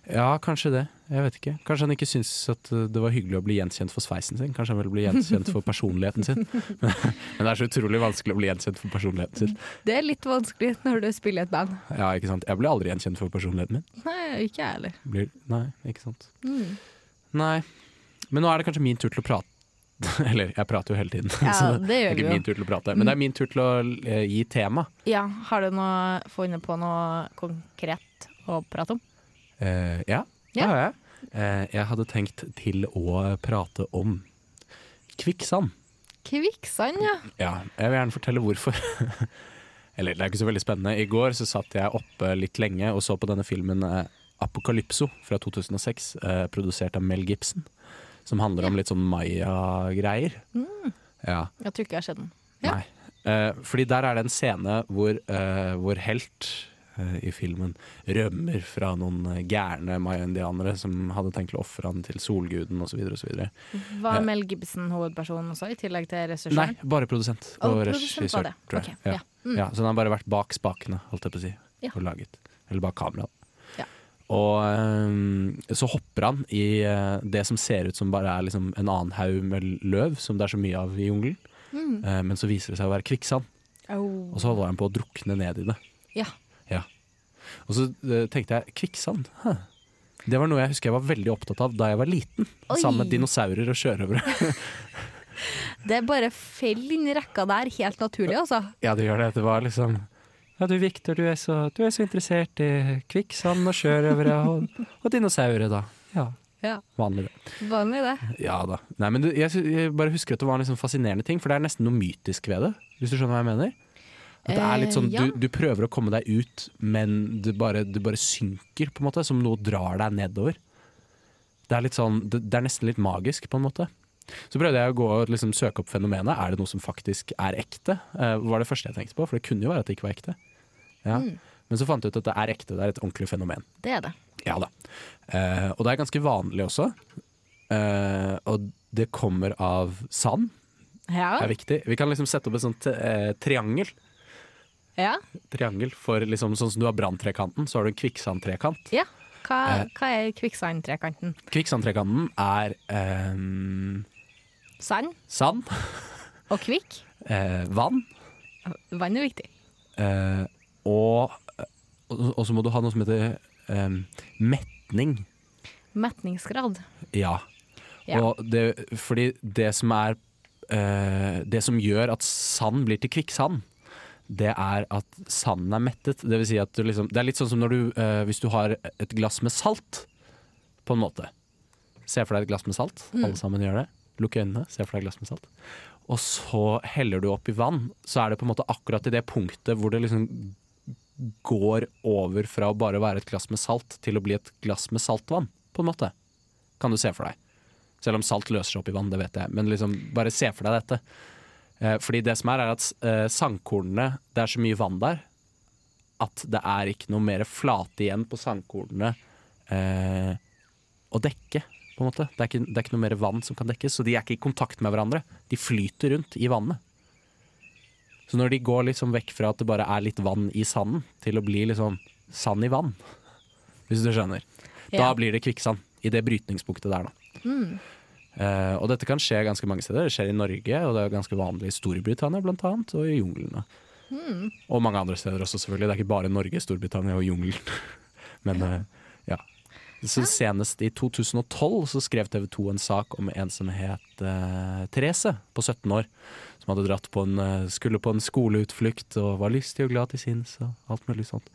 Speaker 1: Ja, kanskje det. Jeg vet ikke. Kanskje han ikke syntes at uh, det var hyggelig å bli gjenkjent for sveisen sin. Kanskje han ville bli gjenkjent for personligheten sin. Men, men det er så utrolig vanskelig å bli gjenkjent for personligheten sin.
Speaker 2: Det er litt vanskelig når du spiller i et band.
Speaker 1: Ja, ikke sant? Jeg blir aldri gjenkjent for personligheten min.
Speaker 2: Nei, ikke jeg heller.
Speaker 1: Blir, nei, ikke sant.
Speaker 2: Mm.
Speaker 1: Nei. Men nå er det kanskje min tur til å prate. Eller, jeg prater jo hele tiden.
Speaker 2: Ja,
Speaker 1: så
Speaker 2: det gjør
Speaker 1: er
Speaker 2: vi
Speaker 1: ikke
Speaker 2: jo.
Speaker 1: min tur til å prate. Men det er min tur til å eh, gi tema.
Speaker 2: Ja, Har du noe, funnet på noe konkret å prate om?
Speaker 1: Eh, ja, det
Speaker 2: Ja.
Speaker 1: har jeg. Eh, jeg hadde tenkt til å prate om kvikksand.
Speaker 2: Kvikksand, ja.
Speaker 1: Ja, jeg vil gjerne fortelle hvorfor. Eller det er ikke så veldig spennende. I går så satt jeg oppe litt lenge og så på denne filmen eh, Apokalypso fra 2006, eh, produsert av Mel Gibson. Som handler om litt sånn maya-greier. Ja,
Speaker 2: Jeg tror ikke jeg har sett den. Mm. Ja.
Speaker 1: nei. Eh, fordi der er det en scene hvor eh, vår helt eh, i filmen rømmer fra noen eh, gærne maya-indianere som hadde tenkt å ofre han til solguden osv. osv.
Speaker 2: Var Mel Gibson hovedpersonen også, i tillegg til
Speaker 1: Nei,
Speaker 2: regissøren?
Speaker 1: bare produsent
Speaker 2: Å,
Speaker 1: og
Speaker 2: produsent var
Speaker 1: regissør,
Speaker 2: det.
Speaker 1: tror jeg.
Speaker 2: Ok, ja.
Speaker 1: ja. Ja, så den har bare vært bak spakene, holdt jeg på å si,
Speaker 2: Mm. Ja.
Speaker 1: og laget. Eller bak kameraet.
Speaker 2: Ja.
Speaker 1: Og øhm, så hopper han i øh, det som ser ut som bare er liksom en annen haug med løv, som det er så mye av i jungelen.
Speaker 2: Mm.
Speaker 1: Eh, men så viser det seg å være kvikksand,
Speaker 2: Au.
Speaker 1: og så holder han på å drukne ned i det.
Speaker 2: Ja.
Speaker 1: Ja. Og så øh, tenkte jeg eh, kvikksand, hæ? Det var noe jeg husker jeg var veldig opptatt av da jeg var liten.
Speaker 2: Oi.
Speaker 1: Sammen med dinosaurer og sjørøvere.
Speaker 2: Det bare faller inn i rekka der, helt naturlig, altså.
Speaker 1: Ja, det gjør det. Det var liksom Ja, du Viktor, du, er så- du er så interessert i kvikksand og sjørøvere og, og dinosaurer, da. Ja.
Speaker 2: Ja.
Speaker 1: Vanlig, det.
Speaker 2: Vanlig, det.
Speaker 1: Ja da. Nei, men det- jeg, sy- jeg bare husker at det var en liksom fascinerende ting, for det er nesten noe mytisk ved det. Hvis du skjønner hva jeg mener? At det er litt sånn,
Speaker 2: Eh, ja.
Speaker 1: du, du prøver å komme deg ut, men du bare, du bare synker, på en måte. Som noe drar deg nedover. Det er, litt sånn, det, det er nesten litt magisk, på en måte. Så prøvde jeg å gå og liksom søke opp fenomenet. Er det noe som faktisk er ekte? Eh, var det første jeg tenkte på, for det kunne jo være at det ikke var ekte. Ja.
Speaker 2: Mm.
Speaker 1: Men så fant jeg ut at det er ekte, det er et ordentlig fenomen.
Speaker 2: Det er det.
Speaker 1: Ja da. Eh, og det er ganske vanlig også. Eh, og det kommer av sand,
Speaker 2: Ja.
Speaker 1: er viktig. Vi kan liksom sette opp et sånt eh, triangel.
Speaker 2: ja.
Speaker 1: Triangel for liksom Sånn som du har branntrekanten, så har du en kvikksandtrekant.
Speaker 2: ja. Hva,
Speaker 1: Eh.
Speaker 2: hva er kvikksandtrekanten?
Speaker 1: Kvikksandtrekanten er eh,
Speaker 2: Sand
Speaker 1: sand,
Speaker 2: og kvikk.
Speaker 1: eh, vann
Speaker 2: Vann er viktig.
Speaker 1: eh, og og og så må du ha noe som heter eh, metning.
Speaker 2: Metningsgrad.
Speaker 1: Ja.
Speaker 2: Ja.
Speaker 1: Og det, fordi det som er eh, Det som gjør at sand blir til kvikksand, det er at sanden er mettet. Det, vil si at du liksom, det er litt sånn som når du, eh, hvis du har et glass med salt, på en måte. Se for deg et glass med salt. Alle sammen gjør det. Lukk øynene, se for deg et glass med salt. Og så heller du oppi vann. Så er det på en måte akkurat i det punktet hvor det liksom går over fra å bare være et glass med salt til å bli et glass med saltvann, på en måte kan du se for deg. Selv om salt løser seg opp i vann, det vet jeg. Men liksom, bare se for deg dette. Eh, fordi det som er, er at eh, sandkornene Det er så mye vann der at det er ikke noe mer flate igjen på sandkornene eh, å dekke, på en måte. Det er, ikke, det er ikke noe mer vann som kan dekkes, så de er ikke i kontakt med hverandre. De flyter rundt i vannet. Så når de går liksom vekk fra at det bare er litt vann i sanden, til å bli liksom sand i vann, hvis du skjønner. Da
Speaker 2: Ja.
Speaker 1: blir det kvikksand i det brytningspunktet der, da. Eh, og dette kan skje ganske mange steder. Det skjer i Norge, og det er ganske vanlig i Storbritannia blant annet, og i junglene. Og mange andre steder også, selvfølgelig. Det er ikke bare Norge, Storbritannia og jungelen. Men eh, ja. Så senest i 2012 så skrev TV 2 en sak om en som het eh, Therese på 17 år. Som hadde dratt på en, eh, skulle på en skoleutflukt og var lystig og glad til sinns og alt mulig sånt.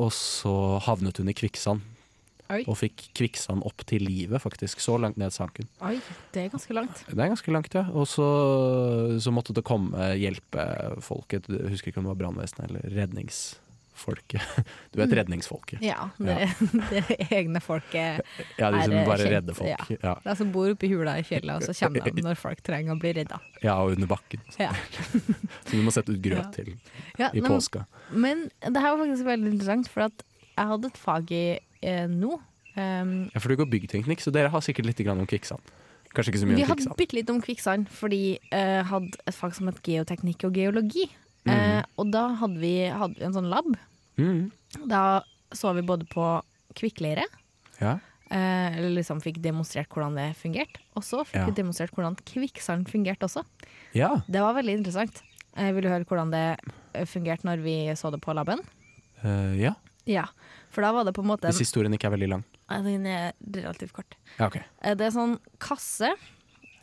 Speaker 1: Og så havnet hun i kvikksand,
Speaker 2: Oi.
Speaker 1: og fikk kvikksand opp til livet, faktisk. Så langt ned sank hun.
Speaker 2: Oi, det er ganske langt.
Speaker 1: Det er ganske langt, ja. Og så, så måtte det komme hjelpefolket. Jeg husker ikke om det var brannvesenet eller redningsfolket. Du vet redningsfolket.
Speaker 2: Ja, det, det egne folket.
Speaker 1: Ja, de
Speaker 2: Er
Speaker 1: som
Speaker 2: det
Speaker 1: bare
Speaker 2: kjent?
Speaker 1: redder folk. Ja.
Speaker 2: De som bor oppi hula i fjellet, og så kommer de når folk trenger å bli redda.
Speaker 1: ja, og under bakken.
Speaker 2: Ja.
Speaker 1: Som du må sette ut
Speaker 2: Ja.
Speaker 1: grøt til
Speaker 2: Ja,
Speaker 1: i
Speaker 2: nei, men-
Speaker 1: påska.
Speaker 2: Men det her var faktisk veldig interessant, for at jeg hadde et fag i eh, nå. Um,
Speaker 1: Ja, for du går byggteknikk, så dere har sikkert litt grann om kvikksand. Kanskje ikke så mye
Speaker 2: vi
Speaker 1: om
Speaker 2: hadde
Speaker 1: kvikksand.
Speaker 2: bitte litt om kvikksand, fordi jeg hadde et fag som het geoteknikk og geologi. Eh, og da hadde vi, hadde vi en sånn lab.
Speaker 1: Mm.
Speaker 2: Da så vi både på kvikkleire,
Speaker 1: Ja.
Speaker 2: eh, eller liksom fikk demonstrert hvordan det fungerte, og så fikk
Speaker 1: Ja.
Speaker 2: vi demonstrert hvordan kvikksand fungerte også.
Speaker 1: ja.
Speaker 2: Det var veldig interessant. Jeg vil du høre hvordan det eh, fungerte når vi så det på laben?
Speaker 1: Eh, ja.
Speaker 2: Ja, for da var det på en måte
Speaker 1: Hvis historien ikke er veldig lang.
Speaker 2: Nei, Den er relativt kort.
Speaker 1: Ja, ok.
Speaker 2: Eh, Det er sånn kasse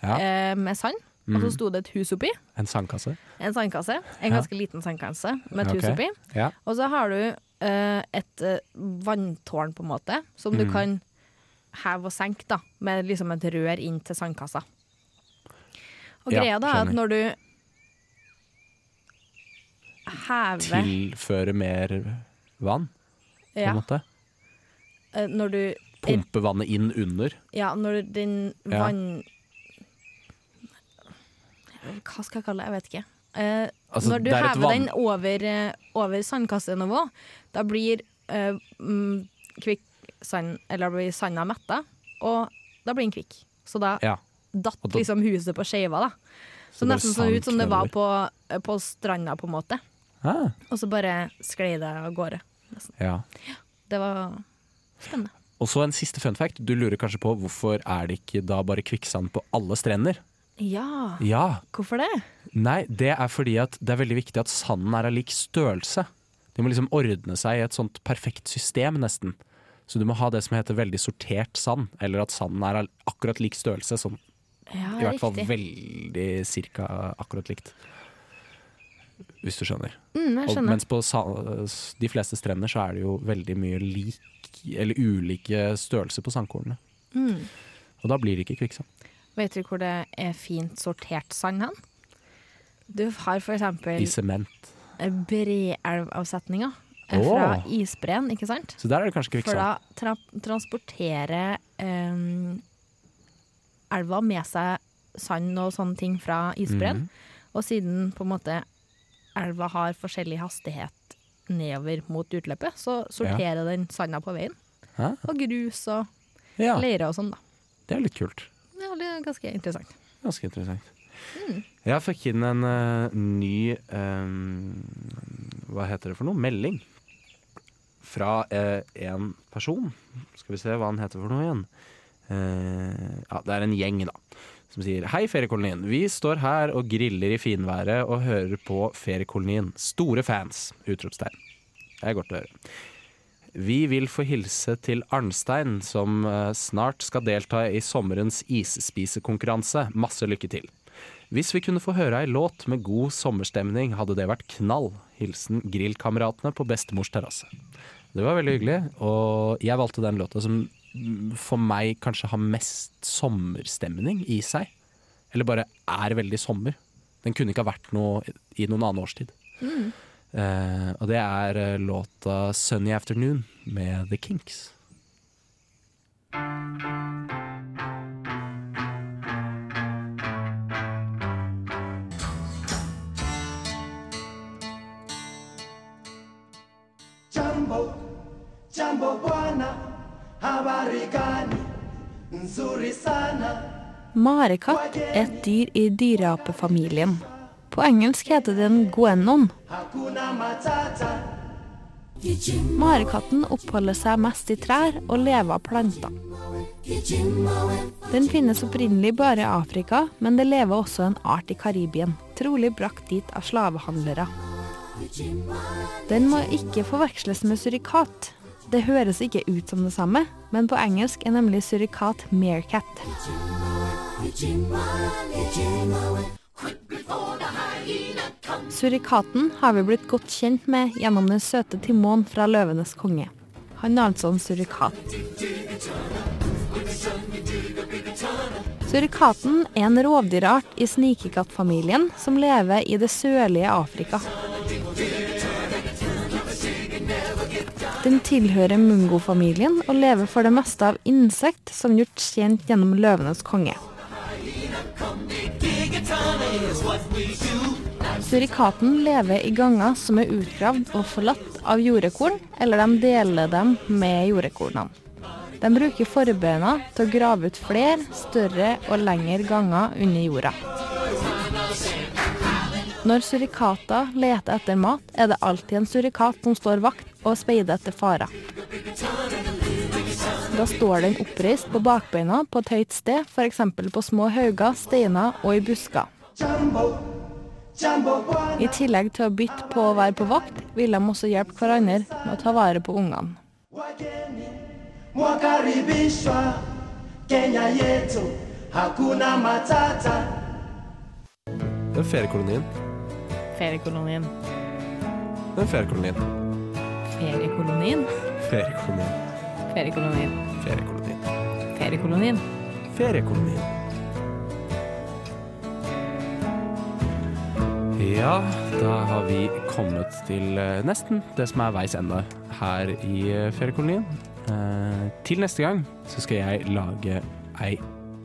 Speaker 1: Ja. Mm.
Speaker 2: eh, med sand, og
Speaker 1: Altså
Speaker 2: så sto det et hus oppi.
Speaker 1: En sandkasse.
Speaker 2: En sandkasse. En
Speaker 1: Ja.
Speaker 2: ganske liten sandkasse med et hus
Speaker 1: Ok.
Speaker 2: oppi.
Speaker 1: Ja.
Speaker 2: Og så har du eh, et eh, vanntårn, på en måte, som
Speaker 1: Mm.
Speaker 2: du kan heve og senke, da, med liksom et rør inn til sandkassa. Og
Speaker 1: Ja,
Speaker 2: greia da er at
Speaker 1: skjønner.
Speaker 2: når du hever
Speaker 1: Tilføre mer vann, på
Speaker 2: ja,
Speaker 1: en måte.
Speaker 2: eh, Når du
Speaker 1: Pumpe vannet inn under.
Speaker 2: Ja, når den
Speaker 1: Ja.
Speaker 2: vann... Hva skal jeg kalle det? Jeg vet ikke. Eh,
Speaker 1: Altså,
Speaker 2: når du
Speaker 1: det er et
Speaker 2: hever
Speaker 1: vann-
Speaker 2: den over, eh, over sandkassenivå, da blir eh, mm, kvikksand Eller da blir sanda metta, og da blir den kvikk. Så da
Speaker 1: Ja.
Speaker 2: datt
Speaker 1: Og da-
Speaker 2: liksom huset på skeiva, da. Så,
Speaker 1: bare
Speaker 2: nesten sånn
Speaker 1: sank
Speaker 2: ut som det var
Speaker 1: nedover.
Speaker 2: på, eh, på stranda, på en måte.
Speaker 1: Ah,
Speaker 2: Og så bare sklei det av gårde.
Speaker 1: ja.
Speaker 2: Det var spennende.
Speaker 1: Og så en siste fun fact. Du lurer kanskje på hvorfor er det ikke da bare kvikksand på alle strender?
Speaker 2: Ja,
Speaker 1: Ja,
Speaker 2: hvorfor det?
Speaker 1: Nei, det er fordi at det er veldig viktig at sanden er av lik størrelse. De må liksom ordne seg i et sånt perfekt system, nesten. Så du må ha det som heter veldig sortert sand, eller at sanden er al- akkurat lik størrelse. Sånn,
Speaker 5: Ja,
Speaker 1: I hvert fall
Speaker 5: riktig.
Speaker 1: veldig cirka akkurat likt. Hvis du skjønner.
Speaker 5: Mm, jeg
Speaker 1: Og,
Speaker 5: skjønner.
Speaker 1: mens på sa, s- de fleste strender så er det jo veldig mye lik, eller ulike størrelser på sandkornene.
Speaker 5: Mm.
Speaker 1: Og da blir det ikke kvikksand.
Speaker 5: Vet du hvor det er fint sortert sand hen? Du har for
Speaker 1: I
Speaker 5: eksempel
Speaker 1: sement.
Speaker 5: eh, Breelvavsetninga eh, fra
Speaker 1: Åh.
Speaker 5: isbreen, ikke sant?
Speaker 1: Så der er det kanskje
Speaker 5: For
Speaker 1: kvikksand.
Speaker 5: da tra transporterer eh, elva med seg sand og sånne ting fra
Speaker 1: Mhm.
Speaker 5: isbreen. Og siden på en måte elva har forskjellig hastighet nedover mot utløpet, så sorterer den sanda på veien.
Speaker 1: Hæ?
Speaker 5: Og grus og
Speaker 1: Ja,
Speaker 5: leire og sånn, da.
Speaker 1: det er litt kult.
Speaker 5: Ja, det er ganske interessant.
Speaker 1: Ganske interessant. Jeg fikk inn en eh, ny eh, Hva heter det for noe? Melding. Fra eh, en person. Skal vi se hva han heter for noe igjen. Eh, ja, det er en gjeng, da. Som sier Hei, Feriekolonien. Vi står her og griller i finværet og hører på Feriekolonien. Store fans! Utropstegn. Det er godt å høre. Vi vil få hilse til Arnstein, som eh, snart skal delta i sommerens isspisekonkurranse. Masse lykke til. Hvis vi kunne få høre ei låt med god sommerstemning, hadde det vært knall. Hilsen Grillkameratene på bestemors terrasse. Det var veldig hyggelig, og jeg valgte den låta som mm, for meg kanskje har mest sommerstemning i seg. Eller bare er veldig sommer. Den kunne ikke ha vært noe i noen annen årstid. Eh, og det er eh, låta 'Sunny Afternoon' med The Kinks.
Speaker 6: Jambo, jambo bwana, habari gani? Nzuri sana.
Speaker 2: Marekatt, et dyr i dyreapefamilien. På engelsk heter den goenon. Marekatten oppholder seg mest i trær og lever av planter. Den finnes opprinnelig bare i Afrika, men det lever også en art i Karibien, trolig brakt dit av slavehandlere. Den må ikke forveksles med surikat. Det høres ikke ut som det samme, men på engelsk er nemlig surikat meerkat. Surikaten har vi blitt godt kjent med gjennom den søte Timon fra 'Løvenes konge'. Han er altså en surikat. Surikaten er en rovdyrart i snikekattfamilien som lever i det sørlige Afrika. Den tilhører mungofamilien og lever for det meste av insekt, som gjort kjent gjennom 'Løvenes konge'. Surikaten lever i ganger som er utgravd og forlatt av jordekorn, eller de deler dem med jordekornene. De bruker forbeina til å grave ut flere, større og lengre ganger under jorda. Når surikater leter etter mat, er det alltid en surikat som står vakt og speider etter farer. Da står den oppreist på bakbeina på et høyt sted, f.eks. på små hauger, steiner og i busker.
Speaker 6: Jambo, jambo bwana.
Speaker 2: I tillegg til å bytte på å være på vakt, vil de også hjelpe hverandre med å ta vare på ungene.
Speaker 6: Wageni mwakaribishwa Kenya yetu, hakuna matata.
Speaker 1: Den feriekolonien.
Speaker 5: Feriekolonien.
Speaker 1: Den feriekolonien.
Speaker 5: Feriekolonien.
Speaker 1: Feriekolonien.
Speaker 5: Feriekolonien.
Speaker 1: Feriekolonien.
Speaker 5: Feriekolonien.
Speaker 1: Feriekolonien. Ja, da har vi kommet til eh, nesten det som er veis ende her i eh, feriekolonien. Eh, til neste gang så skal jeg lage ei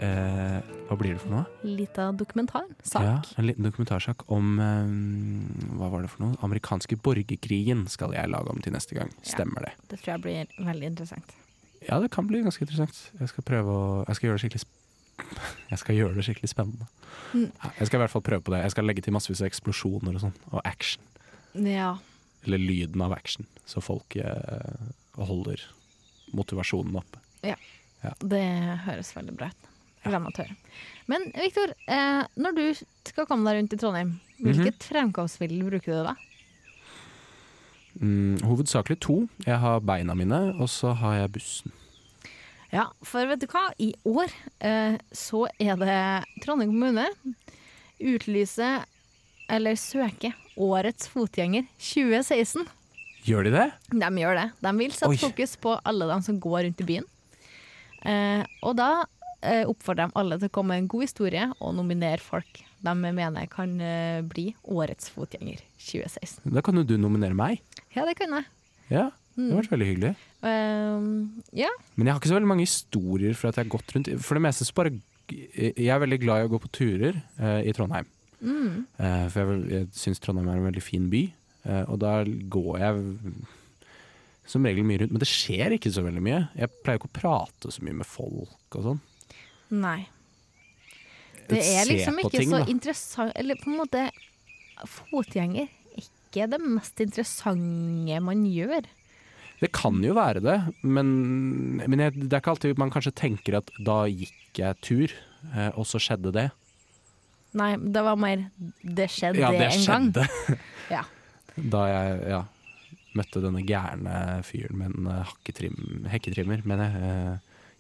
Speaker 1: eh, Hva blir det for noe?
Speaker 5: Lita dokumentar. Sak.
Speaker 1: Ja, en liten dokumentarsak om eh, Hva var det for noe? Amerikanske borgerkrigen skal jeg lage om til neste gang. Stemmer det?
Speaker 5: Det tror jeg blir veldig interessant.
Speaker 1: Ja, det kan bli ganske interessant. Jeg skal prøve å Jeg skal gjøre det skikkelig sp- Jeg skal gjøre det skikkelig spennende. Jeg skal i hvert fall prøve på det. Jeg skal legge til massevis av eksplosjoner og sånn, og action.
Speaker 5: Ja.
Speaker 1: Eller lyden av action, så folk eh, holder motivasjonen oppe.
Speaker 5: Det høres veldig bra ut. Jeg Gleder meg til å høre. Men Viktor, eh, når du skal komme deg rundt i Trondheim, hvilket fremkomstmiddel bruker du da?
Speaker 1: Mm, hovedsakelig to. Jeg har beina mine, og så har jeg bussen.
Speaker 2: Ja, for vet du hva? I år eh, så er det Trondheim kommune utlyser, eller søker, årets fotgjenger 2016.
Speaker 1: Gjør de det?
Speaker 2: De gjør det. De vil sette
Speaker 1: Oi.
Speaker 2: fokus på alle de som går rundt i byen. Eh, og da eh, oppfordrer de alle til å komme med en god historie og nominere folk de mener kan eh, bli årets fotgjenger 2016.
Speaker 1: Da kan jo du nominere meg.
Speaker 2: Ja, det kan jeg.
Speaker 1: Ja, det har vært veldig hyggelig.
Speaker 2: Eh, ja.
Speaker 1: Men jeg har ikke så veldig mange historier for at jeg har gått rundt For det meste så bare Jeg er veldig glad i å gå på turer eh, i Trondheim.
Speaker 2: Mm.
Speaker 1: Eh, for jeg, jeg syns Trondheim er en veldig fin by, eh, og da går jeg som regel mye rundt. Men det skjer ikke så veldig mye. Jeg pleier ikke å prate så mye med folk og sånn.
Speaker 2: Nei. Det
Speaker 1: Se
Speaker 2: er liksom
Speaker 1: på
Speaker 2: ikke
Speaker 1: ting,
Speaker 2: så
Speaker 1: da.
Speaker 2: interessant Eller på en måte Fotgjenger er ikke det mest interessante man gjør.
Speaker 1: Det kan jo være det, men, men jeg, det er ikke alltid man kanskje tenker at da gikk jeg tur, eh, og så skjedde det.
Speaker 2: Nei, det var mer 'det skjedde
Speaker 1: Ja, det
Speaker 2: en gang'.
Speaker 1: skjedde
Speaker 2: Ja.
Speaker 1: da jeg ja, møtte denne gærne fyren med en eh, hakketrim, hekketrimmer. Men jeg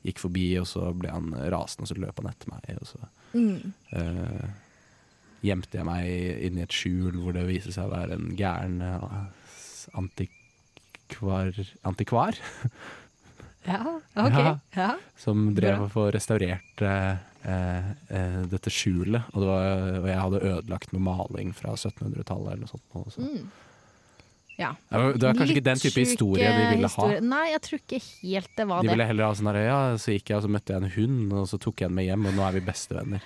Speaker 1: eh, gikk forbi, og så ble han rasende, og så løp han etter meg. Og så
Speaker 2: Mm.
Speaker 1: eh, gjemte jeg meg inn i et skjul hvor det viste seg å være en gæren eh, antikvar, antikvar
Speaker 2: Ja, ok.
Speaker 1: Ja.
Speaker 2: Ja.
Speaker 1: som drev og få restaurert eh, eh, eh, dette skjulet. Og, det var, og jeg hadde ødelagt noe maling fra 1700-tallet eller noe sånt. Og så.
Speaker 2: ja.
Speaker 1: Det var, det var kanskje ikke den type
Speaker 2: Litt
Speaker 1: historie de
Speaker 2: sjuke
Speaker 1: ville ha.
Speaker 2: historier. Nei, jeg tror ikke helt det var
Speaker 1: De ville
Speaker 2: det.
Speaker 1: heller ha sånn her, ja, så gikk jeg og så møtte jeg en hund, og så tok jeg den med hjem, og nå er vi bestevenner.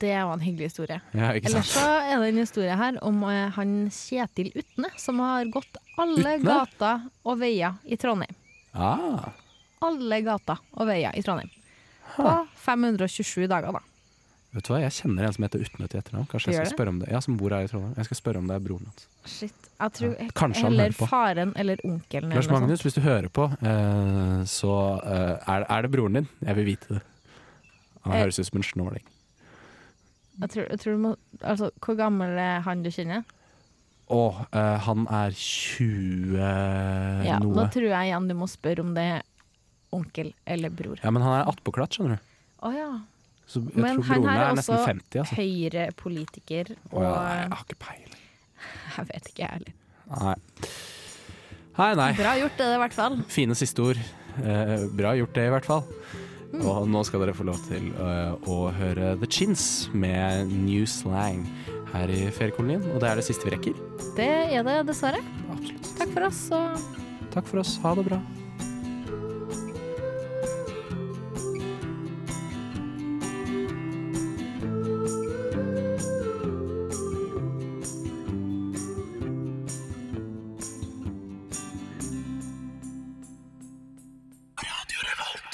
Speaker 2: Det var en hyggelig historie.
Speaker 1: Ja, ikke
Speaker 2: Ellers
Speaker 1: sant?
Speaker 2: så er det en historie her om eh, han Kjetil Utne, som har gått alle
Speaker 1: Utne?
Speaker 2: gater og veier i Trondheim.
Speaker 1: Ah,
Speaker 2: Alle gater og veier i Trondheim. På 527 dager, da.
Speaker 1: vet du hva, jeg kjenner en som heter Utnøtt i etternavn. Kanskje
Speaker 2: Gjør
Speaker 1: jeg skal
Speaker 2: det?
Speaker 1: spørre om det? Ja, som bor her i Trondheim. Jeg skal spørre om det er broren hans.
Speaker 2: Shit. Jeg tror
Speaker 1: Ja, kanskje han
Speaker 2: heller
Speaker 1: hører på.
Speaker 2: faren eller onkelen.
Speaker 1: Lars
Speaker 2: eller noe
Speaker 1: Magnus, hvis du hører på, eh, så eh, er, er det broren din. Jeg vil vite det. Han
Speaker 2: Eh.
Speaker 1: høres ut som en snåling.
Speaker 2: sånt. Jeg tror, jeg tror du må, altså, hvor gammel er han du kjenner?
Speaker 1: Og eh, han er 20 Eh,
Speaker 2: Ja, da
Speaker 1: noe.
Speaker 2: tror jeg igjen du må spørre om det er onkel eller bror.
Speaker 1: Ja, men han er attpåklatt, skjønner du.
Speaker 2: Å ja.
Speaker 1: Så jeg
Speaker 2: Men
Speaker 1: tror
Speaker 2: han
Speaker 1: broren
Speaker 2: her
Speaker 1: er
Speaker 2: er
Speaker 1: nesten
Speaker 2: også
Speaker 1: 50, altså.
Speaker 2: Høyre-politiker,
Speaker 1: Å
Speaker 2: og
Speaker 1: ja, nei, jeg har ikke peiling.
Speaker 2: jeg vet ikke, jeg heller.
Speaker 1: Nei. Hei, nei.
Speaker 2: Bra gjort, det, i hvert fall.
Speaker 1: Fine siste ord. Eh, bra gjort det, i hvert fall. Og nå skal dere få lov til eh, å høre The Chins med New Slang her i feriekolonien. Og det er det siste vi rekker.
Speaker 2: Det er det, dessverre.
Speaker 1: Absolutt.
Speaker 2: Takk for oss, og
Speaker 1: Takk for oss. Ha det bra. Radio Revolt.